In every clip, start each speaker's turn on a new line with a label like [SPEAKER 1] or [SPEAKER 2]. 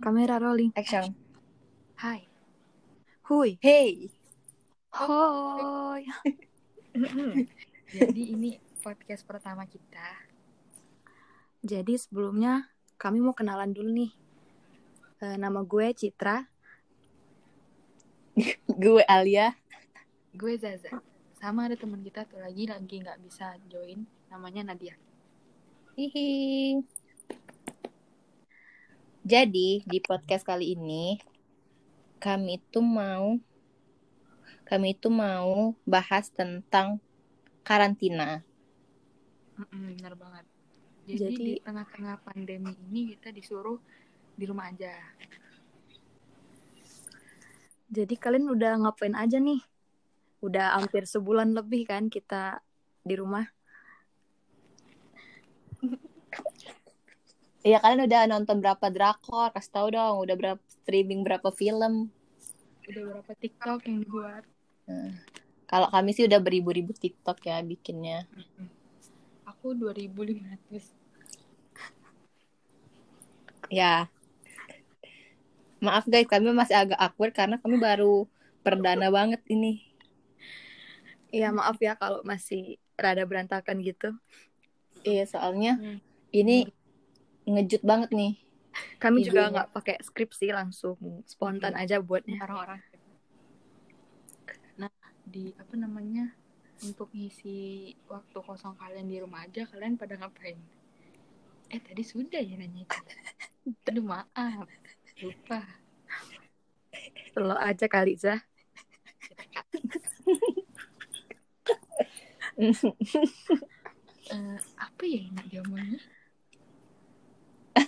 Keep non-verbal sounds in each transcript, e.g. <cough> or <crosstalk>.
[SPEAKER 1] Kamera rolling.
[SPEAKER 2] Action.
[SPEAKER 1] Hai. Hui.
[SPEAKER 2] Hey.
[SPEAKER 1] Hoi.
[SPEAKER 2] Jadi ini podcast pertama kita.
[SPEAKER 1] Jadi sebelumnya kami mau kenalan dulu nih. Eh, nama gue Citra.
[SPEAKER 2] Gue Alia. Gue Zaza. Sama ada teman kita tuh lagi lagi nggak bisa join. Namanya Nadia.
[SPEAKER 3] Hihi. Jadi di podcast kali ini kami itu mau kami itu mau bahas tentang karantina.
[SPEAKER 2] Mm-mm, Bener banget. Jadi,
[SPEAKER 1] Jadi-
[SPEAKER 2] di tengah-tengah pandemi ini kita disuruh di rumah aja.
[SPEAKER 1] Jadi kalian udah ngapain aja nih? Udah hampir sebulan lebih kan kita di rumah.
[SPEAKER 3] Iya kalian udah nonton berapa drakor? Kasih tahu dong, udah berapa streaming berapa film?
[SPEAKER 2] Udah berapa TikTok yang dibuat?
[SPEAKER 3] Kalau kami sih udah beribu-ribu TikTok ya bikinnya.
[SPEAKER 2] Mm-mm. Aku 2500.
[SPEAKER 3] Ya. Maaf guys, kami masih agak awkward karena kami baru perdana banget ini.
[SPEAKER 1] Iya maaf ya kalau masih rada berantakan gitu.
[SPEAKER 3] Iya, soalnya
[SPEAKER 2] Hmm.
[SPEAKER 3] ini ngejut banget nih.
[SPEAKER 1] Kami juga
[SPEAKER 3] Idenya.
[SPEAKER 1] nggak pakai skrip sih langsung spontan aja buatnya.
[SPEAKER 2] orang-orang gitu. nah di apa namanya untuk ngisi waktu kosong kalian di rumah aja kalian pada ngapain eh tadi sudah ya nanya itu aduh maaf lupa
[SPEAKER 1] Lo aja kali Zah.
[SPEAKER 2] Eh, apa ya yang nak diomongin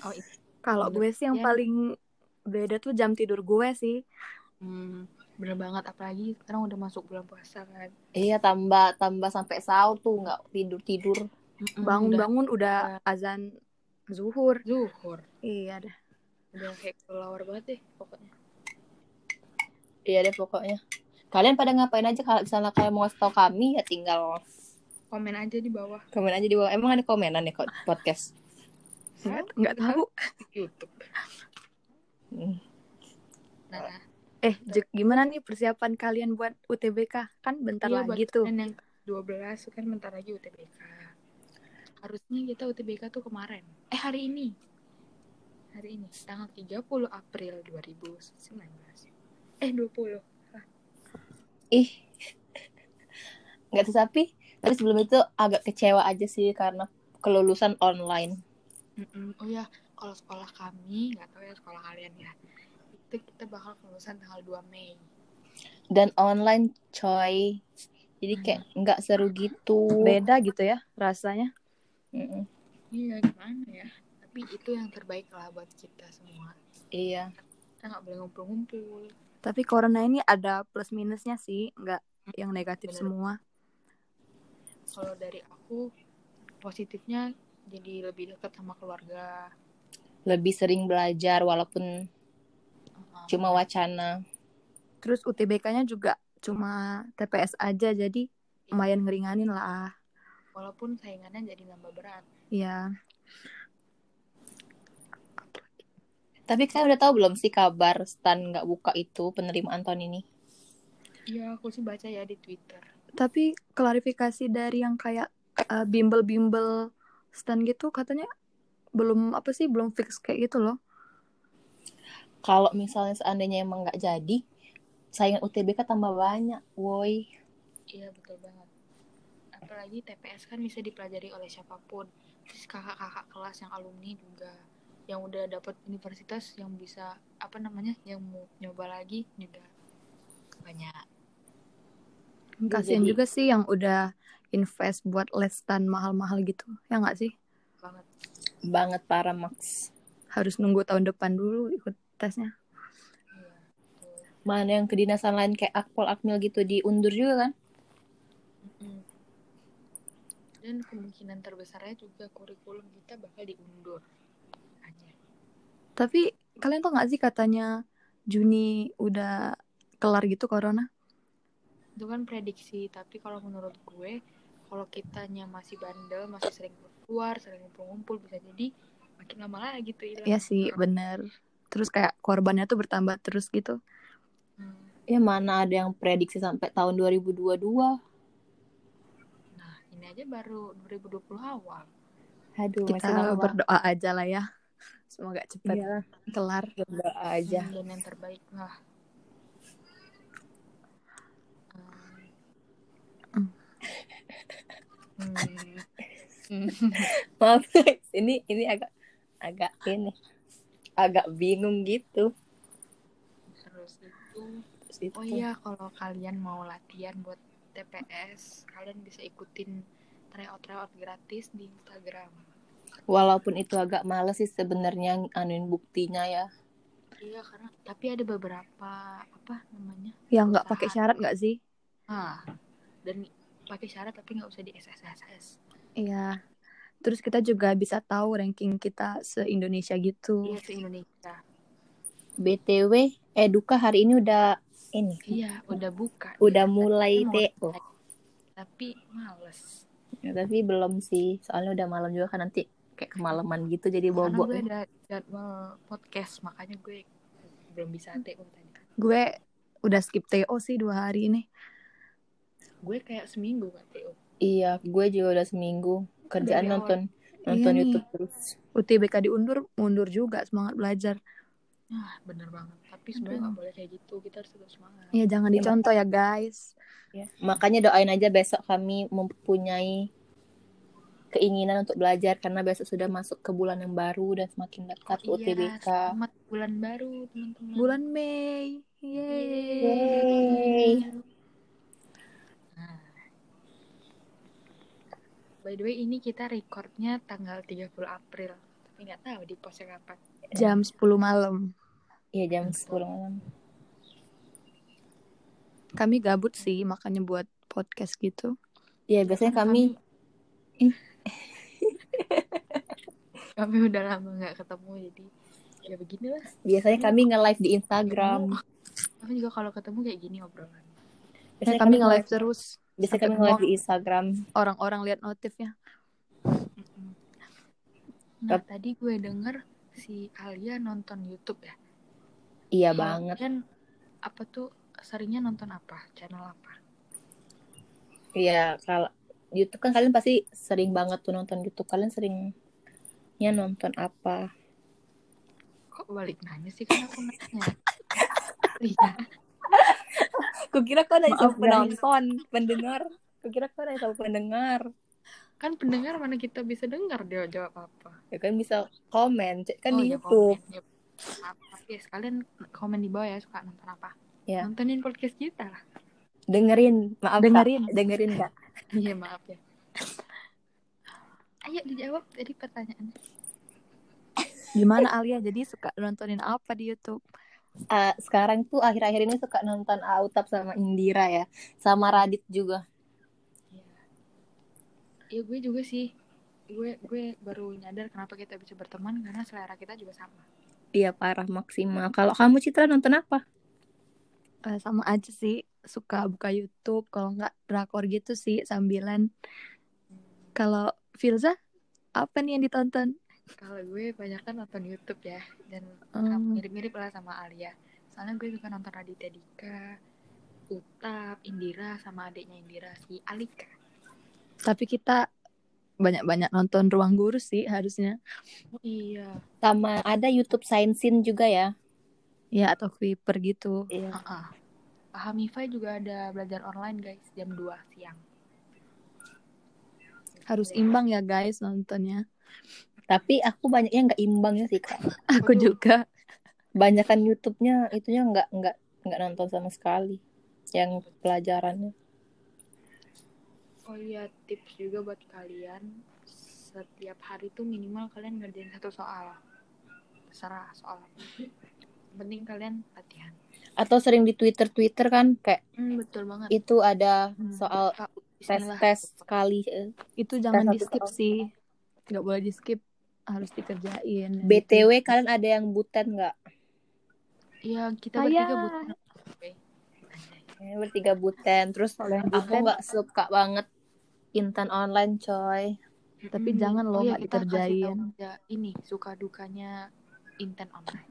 [SPEAKER 2] oh itu
[SPEAKER 1] Kalau gue sih yang
[SPEAKER 2] Ya.
[SPEAKER 1] paling beda tuh jam tidur gue sih.
[SPEAKER 2] hmm, bener banget apalagi sekarang udah masuk bulan puasa kan
[SPEAKER 3] Iya, tambah tambah sampai sahur tuh nggak tidur-tidur.
[SPEAKER 2] Mm-mm, udah
[SPEAKER 1] Bangun-bangun udah azan zuhur.
[SPEAKER 2] zuhur
[SPEAKER 1] Iya dah.
[SPEAKER 2] udah kayak kelawar banget deh pokoknya
[SPEAKER 3] Iya deh pokoknya. Kalian pada ngapain aja kalau misalnya kalian mau ngasih tau kami ya tinggal
[SPEAKER 2] komen aja di bawah
[SPEAKER 3] komen aja di bawah. Emang ada komenan ya kok podcast?
[SPEAKER 2] Iya.
[SPEAKER 1] Nggak, nggak tahu.
[SPEAKER 2] YouTube
[SPEAKER 3] Hmm.
[SPEAKER 2] nah
[SPEAKER 1] Eh, Jek, gimana nih persiapan kalian buat UTBK? Kan bentar
[SPEAKER 2] Iya,
[SPEAKER 1] lagi
[SPEAKER 2] buat
[SPEAKER 1] tuh.
[SPEAKER 2] kalian yang 12 kan bentar lagi UTBK. Harusnya kita UTBK tuh kemarin. Eh hari ini. Hari ini tanggal 30 April 2019. Eh 20.
[SPEAKER 3] Ih. <laughs> Nggak tuh tapi tapi sebelum itu agak kecewa aja sih karena kelulusan online.
[SPEAKER 2] Mm-mm. Oh ya, kalau sekolah kami nggak tahu ya sekolah kalian ya. Itu kita bakal kelulusan tanggal 2 Mei.
[SPEAKER 3] Dan online coy. Jadi kayak nggak seru gitu.
[SPEAKER 1] Beda gitu ya rasanya.
[SPEAKER 3] Mm-mm.
[SPEAKER 2] Iya gimana ya? Tapi itu yang terbaik lah buat kita semua.
[SPEAKER 3] Iya.
[SPEAKER 2] Kita nggak boleh ngumpul-ngumpul.
[SPEAKER 1] Tapi corona ini ada plus minusnya sih, nggak yang negatif
[SPEAKER 2] Bener.
[SPEAKER 1] semua.
[SPEAKER 2] Kalau dari aku positifnya jadi lebih dekat sama keluarga.
[SPEAKER 3] lebih sering belajar walaupun cuma wacana.
[SPEAKER 1] Terus UTBK-nya juga cuma TPS aja,
[SPEAKER 2] Iya.
[SPEAKER 1] jadi lumayan ngeringanin lah.
[SPEAKER 2] walaupun saingannya jadi nambah berat.
[SPEAKER 1] Iya.
[SPEAKER 3] Tapi kalian udah tahu belum sih kabar stan nggak buka itu penerimaan tahun ini?
[SPEAKER 2] Iya, aku sih baca ya di Twitter.
[SPEAKER 1] Tapi klarifikasi dari yang kayak eh, bimbel-bimbel stand gitu katanya belum apa sih belum fix kayak gitu loh.
[SPEAKER 3] Kalau misalnya seandainya emang nggak jadi, saingan UTBK kan tambah banyak, woi.
[SPEAKER 2] Iya, betul banget. Apalagi TPS kan bisa dipelajari oleh siapapun. Terus kakak-kakak kelas yang alumni juga yang udah dapat universitas yang bisa apa namanya yang mau nyoba lagi juga banyak.
[SPEAKER 1] Kasian
[SPEAKER 2] Iya,
[SPEAKER 3] Jadi-
[SPEAKER 1] juga sih yang udah invest buat les stand mahal-mahal gitu. Ya nggak sih?
[SPEAKER 2] banget.
[SPEAKER 3] Banget para Max.
[SPEAKER 1] Harus nunggu tahun depan dulu ikut tesnya.
[SPEAKER 2] Iya. betul.
[SPEAKER 3] Mana yang kedinasan lain kayak Akpol, Akmil gitu diundur juga kan?
[SPEAKER 2] Mm-mm. Dan kemungkinan terbesarnya juga kurikulum kita bakal diundur. Aja.
[SPEAKER 1] Tapi kalian tau nggak sih katanya Juni udah kelar gitu corona?
[SPEAKER 2] itu kan prediksi tapi kalau menurut gue kalau kitanya masih bandel masih
[SPEAKER 3] Hmm.
[SPEAKER 2] sering keluar sering ngumpul-ngumpul bisa jadi makin lama lagi tuh hilang
[SPEAKER 1] Ya sih Iya bener. terus kayak korbannya tuh bertambah terus gitu
[SPEAKER 2] Hmm.
[SPEAKER 3] Ya mana ada yang prediksi sampai tahun 2022.
[SPEAKER 2] Nah, ini aja baru 2020 awal.
[SPEAKER 3] Aduh, masih
[SPEAKER 1] kita
[SPEAKER 3] lama.
[SPEAKER 1] berdoa aja lah ya semoga cepat
[SPEAKER 3] Iya,
[SPEAKER 1] kelar
[SPEAKER 3] berdoa aja. <laughs>
[SPEAKER 2] Dan yang terbaik lah. Hmm. Hmm. Hmm.
[SPEAKER 3] Maaf guys, ini ini agak agak ini agak bingung gitu.
[SPEAKER 2] Terus itu,
[SPEAKER 3] Terus itu.
[SPEAKER 2] oh iya kalau kalian mau latihan buat TPS, kalian bisa ikutin tryout-tryout gratis di Instagram.
[SPEAKER 3] Walaupun itu agak males sih sebenarnya anuin buktinya ya.
[SPEAKER 2] Iya, karena tapi ada beberapa apa namanya?
[SPEAKER 1] yang Ya, nggak pakai syarat nggak sih
[SPEAKER 2] Ah, dan pakai syarat tapi nggak usah di SSSS.
[SPEAKER 1] iya terus kita juga bisa tahu ranking kita se Indonesia gitu
[SPEAKER 2] Iya, se Indonesia.
[SPEAKER 3] BTW, Eduka eh, hari ini udah ini
[SPEAKER 2] Iya, udah buka.
[SPEAKER 3] udah
[SPEAKER 2] Iya,
[SPEAKER 3] mulai
[SPEAKER 2] tapi mau-
[SPEAKER 3] TO.
[SPEAKER 2] Tapi males.
[SPEAKER 3] Ya, tapi belum sih, soalnya udah malam juga kan nanti kayak kemalaman gitu jadi
[SPEAKER 2] Karena
[SPEAKER 3] bobo.
[SPEAKER 2] gue ada jadwal podcast, makanya gue belum bisa TO tadi.
[SPEAKER 1] gue udah skip TO sih dua hari ini
[SPEAKER 2] Gue kayak seminggu gak TO.
[SPEAKER 3] Iya, gue juga udah seminggu
[SPEAKER 2] Dari
[SPEAKER 3] kerjaan
[SPEAKER 2] awal.
[SPEAKER 3] nonton
[SPEAKER 1] Iya
[SPEAKER 3] nonton
[SPEAKER 1] nih.
[SPEAKER 3] YouTube terus.
[SPEAKER 1] UTBK diundur mundur juga semangat belajar
[SPEAKER 2] Ah, bener banget. Tapi sebenarnya nggak boleh kayak gitu. Kita harus tetap semangat.
[SPEAKER 1] ya jangan
[SPEAKER 3] Iya,
[SPEAKER 1] dicontoh ya guys
[SPEAKER 3] Makanya doain aja besok kami mempunyai keinginan untuk belajar karena besok sudah masuk ke bulan yang baru dan semakin dekat
[SPEAKER 2] Oh, iya,
[SPEAKER 3] UTBK.
[SPEAKER 2] selamat bulan baru, teman-teman.
[SPEAKER 1] bulan Mei yeay
[SPEAKER 2] Iya.
[SPEAKER 3] Yeay.
[SPEAKER 2] Nah. By the way, ini kita recordnya tanggal 30 April. Tapi nggak tahu di postnya kapan.
[SPEAKER 1] jam 10 malam
[SPEAKER 3] Iya jam 10 malam.
[SPEAKER 1] kami gabut sih makanya buat podcast gitu
[SPEAKER 3] Iya biasanya kami
[SPEAKER 2] <laughs> Kami udah lama nggak ketemu, jadi ya beginilah.
[SPEAKER 3] biasanya kami nge-live di Instagram.
[SPEAKER 2] Tapi juga kalau ketemu kayak gini obrolan.
[SPEAKER 1] Biasanya
[SPEAKER 3] Biasanya
[SPEAKER 1] Eh, kami nge-live
[SPEAKER 3] nge-live
[SPEAKER 1] terus
[SPEAKER 3] biasanya
[SPEAKER 1] sampai
[SPEAKER 3] kami nge-live
[SPEAKER 1] muak.
[SPEAKER 3] di Instagram. Iya
[SPEAKER 1] orang-orang lihat notifnya
[SPEAKER 2] Nah, tadi gue denger si Alia nonton YouTube ya.
[SPEAKER 3] Iya banget.
[SPEAKER 2] Dan apa tuh seringnya nonton apa? Channel apa?
[SPEAKER 3] Iya kalau YouTube kan kalian pasti sering banget tuh nonton YouTube. Kalian seringnya nonton apa?
[SPEAKER 2] Kok balik nanya sih kan aku
[SPEAKER 3] <laughs>
[SPEAKER 2] nanya. Iya.
[SPEAKER 3] Kukira kau ada
[SPEAKER 1] Maaf,
[SPEAKER 3] sama
[SPEAKER 1] guys.
[SPEAKER 3] penonton, pendengar. Kukira kau ada sama pendengar.
[SPEAKER 2] Kan pendengar mana kita bisa dengar dia jawab apa.
[SPEAKER 3] Ya kan bisa komen, cek kan
[SPEAKER 2] Oh,
[SPEAKER 3] di
[SPEAKER 2] ya,
[SPEAKER 3] YouTube.
[SPEAKER 2] komen, ya. Apa, guys, kalian komen di bawah ya suka nonton apa.
[SPEAKER 3] Ya.
[SPEAKER 2] Nontonin podcast kita lah. <laughs>
[SPEAKER 3] Dengerin, maaf Kak.
[SPEAKER 1] Dengerin.
[SPEAKER 3] dengerin Kak.
[SPEAKER 2] Iya, maaf ya. Ayo dijawab tadi pertanyaannya.
[SPEAKER 1] <laughs> gimana Alia jadi suka nontonin apa di YouTube
[SPEAKER 3] Eh, sekarang tuh akhir-akhir ini suka nonton Autap sama Indira ya, sama Radit juga.
[SPEAKER 2] Ya gue juga sih. Gue gue baru nyadar kenapa kita bisa berteman karena selera kita juga sama.
[SPEAKER 3] Iya parah maksimal. Kalau kamu Citra nonton apa?
[SPEAKER 1] Eh, sama aja sih suka buka YouTube kalau nggak drakor gitu sih sambilan kalau Filza apa nih yang ditonton
[SPEAKER 2] Kalau gue banyak kan nonton YouTube ya dan
[SPEAKER 1] Hmm.
[SPEAKER 2] mirip-mirip lah sama Alia. Soalnya gue suka nonton Raditya Dika, Utap, Indira sama adiknya Indira si Alika.
[SPEAKER 1] tapi kita banyak-banyak nonton ruang guru sih harusnya
[SPEAKER 2] Oh iya.
[SPEAKER 3] Sama ada YouTube Sainsin juga ya.
[SPEAKER 1] ya atau Kuiper gitu
[SPEAKER 3] Iya.
[SPEAKER 2] Heeh. Hamify juga ada belajar online guys jam 2 siang. Iya.
[SPEAKER 1] harus imbang ya guys <laughs> nontonnya
[SPEAKER 3] Tapi aku banyaknya nggak imbang ya sih Kak.
[SPEAKER 1] aku
[SPEAKER 2] Waduh.
[SPEAKER 1] juga
[SPEAKER 3] Banyakan YouTube-nya itunya nggak nggak nggak nonton sama sekali. Yang pelajarannya.
[SPEAKER 2] Oh iya tips juga buat kalian setiap hari tuh minimal kalian ngerjain satu soal. Terserah soal. apa. Yang penting kalian latihan.
[SPEAKER 3] Atau sering di Twitter Twitter kan kayak
[SPEAKER 2] Hmm, betul
[SPEAKER 1] Iya,
[SPEAKER 2] banget.
[SPEAKER 3] itu ada
[SPEAKER 2] Hmm.
[SPEAKER 3] soal
[SPEAKER 2] Kak,
[SPEAKER 3] tes
[SPEAKER 2] Bismillah.
[SPEAKER 3] tes kali eh,
[SPEAKER 1] itu jangan
[SPEAKER 3] Salah
[SPEAKER 1] di
[SPEAKER 3] satu
[SPEAKER 1] skip
[SPEAKER 3] soal.
[SPEAKER 1] sih nggak boleh di skip harus dikerjain
[SPEAKER 3] btw kalian ada yang butet nggak
[SPEAKER 2] Iya, kita
[SPEAKER 1] Saya.
[SPEAKER 2] bertiga butuh. Oke. Anjay.
[SPEAKER 3] Eh, bertiga buten terus
[SPEAKER 1] Kalau yang
[SPEAKER 3] aku
[SPEAKER 1] butet-
[SPEAKER 3] nggak suka banget intan online coy
[SPEAKER 1] Tapi
[SPEAKER 2] Mm-mm.
[SPEAKER 1] jangan loh,
[SPEAKER 2] Hmm, iya,
[SPEAKER 1] nggak
[SPEAKER 2] kita kasih tahu
[SPEAKER 1] dikerjain.
[SPEAKER 2] aja ini suka dukanya intent online.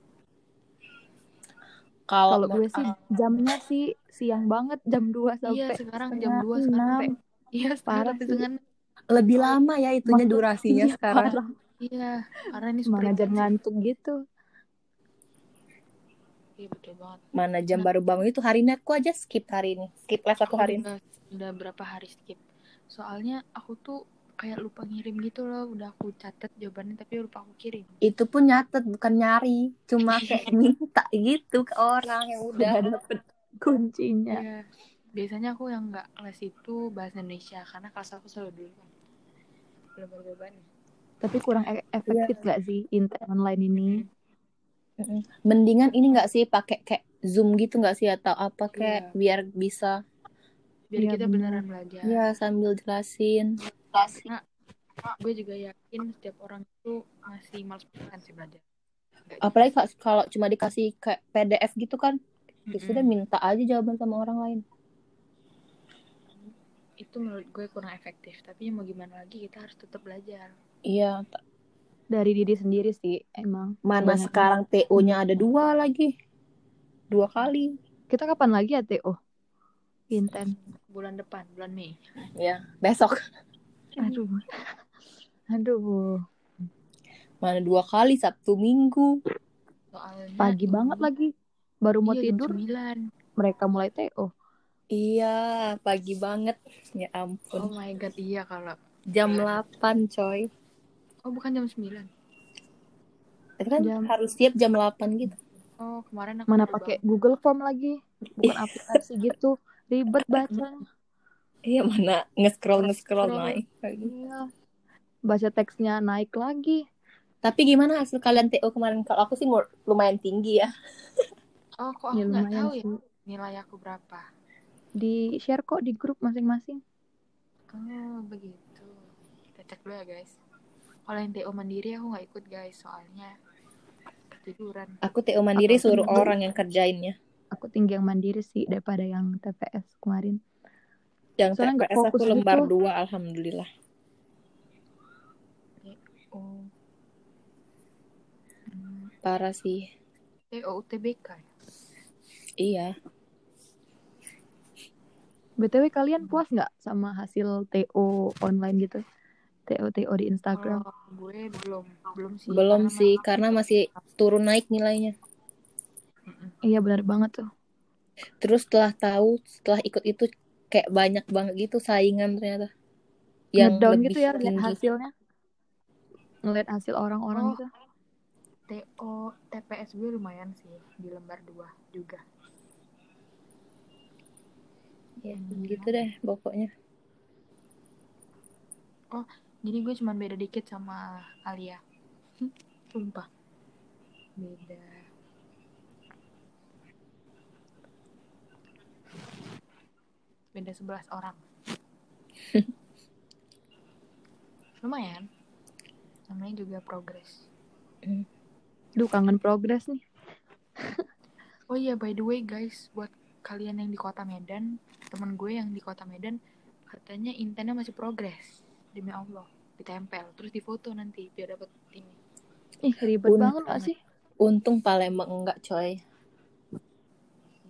[SPEAKER 1] Kalau
[SPEAKER 3] Kalau
[SPEAKER 1] gue sih
[SPEAKER 3] ah,
[SPEAKER 1] jamnya sih siang banget jam 2 sampai
[SPEAKER 2] Iya sekarang
[SPEAKER 1] setengah
[SPEAKER 2] jam 2 sekarang
[SPEAKER 1] enam.
[SPEAKER 2] sampai Iya <laughs> sekarang
[SPEAKER 1] Parah
[SPEAKER 2] sampai
[SPEAKER 1] sih.
[SPEAKER 2] dengan
[SPEAKER 3] lebih lama ya
[SPEAKER 1] Maksud-
[SPEAKER 3] itunya durasinya
[SPEAKER 1] Iya,
[SPEAKER 3] sekarang.
[SPEAKER 1] parah.
[SPEAKER 2] Iya karena ini
[SPEAKER 1] Mana
[SPEAKER 2] sprint.
[SPEAKER 1] jam ngantuk gitu. <laughs>
[SPEAKER 2] Iya betul banget
[SPEAKER 3] Mana jam baru bangun itu hari ini aku aja skip hari ini. Skip les aku
[SPEAKER 2] Aku
[SPEAKER 3] hari ini.
[SPEAKER 2] juga udah berapa hari skip Soalnya aku tuh kayak lupa ngirim gitu loh Udah aku catat jawabannya tapi lupa aku kirim
[SPEAKER 3] Itu pun nyatet bukan nyari, cuma <laughs> kayak minta gitu ke orang yang udah
[SPEAKER 1] Udah dapet kuncinya.
[SPEAKER 2] Iya. Biasanya aku yang nggak les itu bahasa Indonesia karena kelas aku selalu dulu kan. Belum ada jawabannya.
[SPEAKER 1] Tapi kurang e- efektif gak sih intern online ini?
[SPEAKER 3] Mendingan ini nggak sih pakai kayak Zoom gitu nggak sih atau apa
[SPEAKER 2] Iya.
[SPEAKER 3] kayak biar bisa
[SPEAKER 2] Biar
[SPEAKER 1] Iya,
[SPEAKER 2] kita
[SPEAKER 1] benar.
[SPEAKER 2] beneran belajar.
[SPEAKER 3] ya sambil jelasin.
[SPEAKER 2] Gue juga yakin setiap orang itu masih males banget sih belajar. Nggak
[SPEAKER 3] Apalagi kalau- kalau cuma dikasih kayak PDF gitu kan,
[SPEAKER 2] jelas.
[SPEAKER 1] Iya,
[SPEAKER 3] ya sudah
[SPEAKER 2] Mm-mm.
[SPEAKER 3] minta aja jawaban sama orang lain.
[SPEAKER 2] itu menurut gue kurang efektif. Tapi mau gimana lagi kita harus tetap belajar.
[SPEAKER 3] Iya, ta-
[SPEAKER 1] Dari diri sendiri sih emang.
[SPEAKER 3] mana
[SPEAKER 1] Banyak.
[SPEAKER 3] sekarang TO-nya ada dua lagi, dua kali.
[SPEAKER 1] Kita kapan lagi ya TO? Intern.
[SPEAKER 2] Bulan depan, bulan Mei.
[SPEAKER 3] Ya, besok
[SPEAKER 2] Iya.
[SPEAKER 1] Aduh. <laughs> Aduh.
[SPEAKER 3] mana dua kali Sabtu Minggu.
[SPEAKER 2] Soalnya iya,
[SPEAKER 1] Pagi banget lagi. Baru mau tidur
[SPEAKER 2] Jam 9.
[SPEAKER 1] mereka mulai TO.
[SPEAKER 3] Iya, pagi banget. Ya
[SPEAKER 2] Oh
[SPEAKER 3] ampun,
[SPEAKER 2] my god, iya kalau.
[SPEAKER 3] jam 8 coy.
[SPEAKER 2] Oh bukan jam 9.
[SPEAKER 3] Tapi kan
[SPEAKER 1] Jam-
[SPEAKER 3] harus siap jam 8 gitu.
[SPEAKER 2] Oh kemarin aku
[SPEAKER 1] Mana
[SPEAKER 2] baru
[SPEAKER 1] pakai Google Form lagi? Bukan aplikasi gitu. Ribet baca.
[SPEAKER 3] Iya mana nge-scroll nge-scroll
[SPEAKER 2] Scroll.
[SPEAKER 3] naik.
[SPEAKER 1] Iya. Baca teksnya naik lagi.
[SPEAKER 3] Tapi gimana hasil kalian TO kemarin? Kalau aku sih mur- lumayan tinggi ya.
[SPEAKER 2] bangun. Oh kok aku
[SPEAKER 1] Ya
[SPEAKER 2] nggak tahu
[SPEAKER 1] lumayan
[SPEAKER 2] ya
[SPEAKER 1] sih.
[SPEAKER 2] nilai aku berapa.
[SPEAKER 1] Di share kok di grup masing-masing.
[SPEAKER 2] Oh, begitu. Kita cek dulu ya, guys. Kalau yang TO mandiri aku nggak ikut, guys. Soalnya ketiduran.
[SPEAKER 3] Aku TO
[SPEAKER 1] Apa?
[SPEAKER 3] mandiri suruh orang yang kerjainnya.
[SPEAKER 1] Aku tinggi yang mandiri sih daripada yang TPS kemarin.
[SPEAKER 3] Yang
[SPEAKER 1] Soalnya nggak
[SPEAKER 3] TPS aku
[SPEAKER 1] fokus
[SPEAKER 3] lembar
[SPEAKER 1] gitu.
[SPEAKER 3] dua, alhamdulillah.
[SPEAKER 2] Oh. Hmm,
[SPEAKER 3] Parah sih.
[SPEAKER 2] TO UTBK ya?
[SPEAKER 3] Iya.
[SPEAKER 1] BTW kalian puas nggak sama hasil TO online gitu? TO TO di
[SPEAKER 2] Kalau
[SPEAKER 1] Instagram.
[SPEAKER 2] Oh, gue belum belum
[SPEAKER 1] Iya.
[SPEAKER 2] sih.
[SPEAKER 3] Belum
[SPEAKER 2] Karena
[SPEAKER 3] sih
[SPEAKER 2] memang-
[SPEAKER 3] karena masih turun naik nilainya.
[SPEAKER 2] Mm-mm.
[SPEAKER 1] Iya benar banget tuh.
[SPEAKER 3] Terus setelah tahu, setelah ikut itu kayak banyak banget gitu saingan ternyata. Yang
[SPEAKER 1] Ngedown
[SPEAKER 3] lebih
[SPEAKER 1] gitu ya lihat
[SPEAKER 3] tinggi.
[SPEAKER 1] hasilnya. Ngeliat hasil orang-orang
[SPEAKER 2] Oh.
[SPEAKER 1] gitu.
[SPEAKER 2] TO TPS gue lumayan sih di lembar 2 juga.
[SPEAKER 3] Ya, gitu deh pokoknya.
[SPEAKER 2] Jadi gue cuman beda dikit sama Alia. <laughs> Hmm, Sumpah. Beda. Beda 11 orang. Lumayan. Namanya juga progres.
[SPEAKER 1] Duh kangen progres nih.
[SPEAKER 2] Oh iya, by the way guys, buat kalian yang di kota Medan, temen gue yang di kota Medan, katanya internnya masih progres. Demi Allah, ditempel, terus difoto nanti biar dapat ini.
[SPEAKER 1] Ih ribet
[SPEAKER 3] Bun.
[SPEAKER 1] banget gak sih?
[SPEAKER 3] Untung Palembang enggak coy.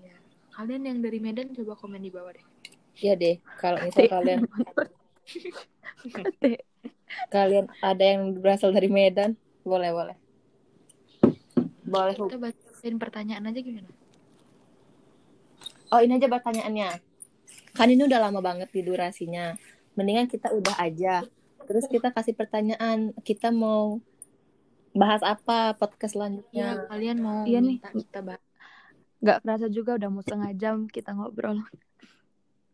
[SPEAKER 2] Iya. Kalian yang dari Medan coba komen di bawah deh.
[SPEAKER 3] Iya deh, kalau misal kalian kalian ada yang berasal dari Medan, boleh boleh. Boleh.
[SPEAKER 2] Kita bacain pertanyaan aja gimana?
[SPEAKER 3] Oh ini aja pertanyaannya. Kan ini udah lama banget di durasinya. Mendingan kita udah aja. Terus kita kasih pertanyaan, kita mau bahas apa podcast
[SPEAKER 2] Iya,
[SPEAKER 3] selanjutnya?
[SPEAKER 2] kalian mau
[SPEAKER 1] Ya. Iya nih.
[SPEAKER 2] minta kita bahas.
[SPEAKER 1] Gak kerasa juga udah mau setengah jam kita ngobrol.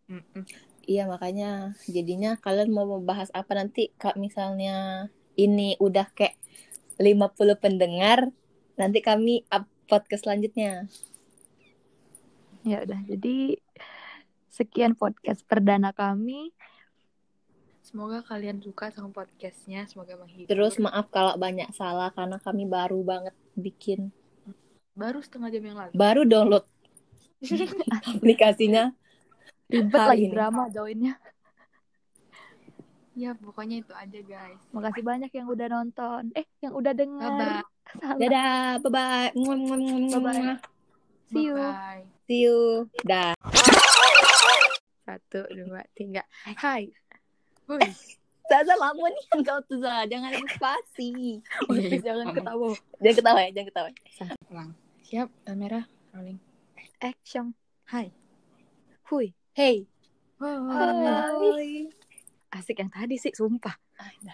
[SPEAKER 2] Mm-mm.
[SPEAKER 3] Iya makanya jadinya kalian mau membahas apa nanti kalau misalnya ini udah kayak 50 pendengar, nanti kami up podcast selanjutnya.
[SPEAKER 1] Ya udah jadi sekian podcast perdana kami.
[SPEAKER 2] Semoga kalian suka sama podcastnya, semoga menghibur.
[SPEAKER 3] Terus maaf kalau banyak salah karena kami baru banget bikin,
[SPEAKER 2] baru setengah jam yang lalu.
[SPEAKER 3] baru download aplikasinya.
[SPEAKER 1] Ribet
[SPEAKER 3] Hari
[SPEAKER 1] lagi
[SPEAKER 3] ini.
[SPEAKER 1] drama joinnya.
[SPEAKER 2] ya, pokoknya itu aja guys.
[SPEAKER 1] Makasih banyak yang udah nonton. Eh yang
[SPEAKER 2] Bye
[SPEAKER 1] udah
[SPEAKER 2] bye.
[SPEAKER 1] dengar. Salah.
[SPEAKER 3] Dadah, bye bye.
[SPEAKER 1] Bye-bye. See you.
[SPEAKER 2] Bye.
[SPEAKER 3] See you. Dah.
[SPEAKER 1] Satu, dua, tiga.
[SPEAKER 2] <laughs>
[SPEAKER 1] Hai.
[SPEAKER 2] Woi,
[SPEAKER 3] Zaza lama nih <laughs> kau tuh Zaza. Jangan spasi.
[SPEAKER 2] Iya, iya.
[SPEAKER 1] Jangan ketawa.
[SPEAKER 3] <laughs> Jangan ketawa ya, jangan ketawa.
[SPEAKER 2] siap, kamera rolling.
[SPEAKER 1] Action. Hai. Hui.
[SPEAKER 3] Hey.
[SPEAKER 2] Wow.
[SPEAKER 1] Hai.
[SPEAKER 3] Hai.
[SPEAKER 1] Asik yang tadi sih, sumpah.
[SPEAKER 2] Ah, dah.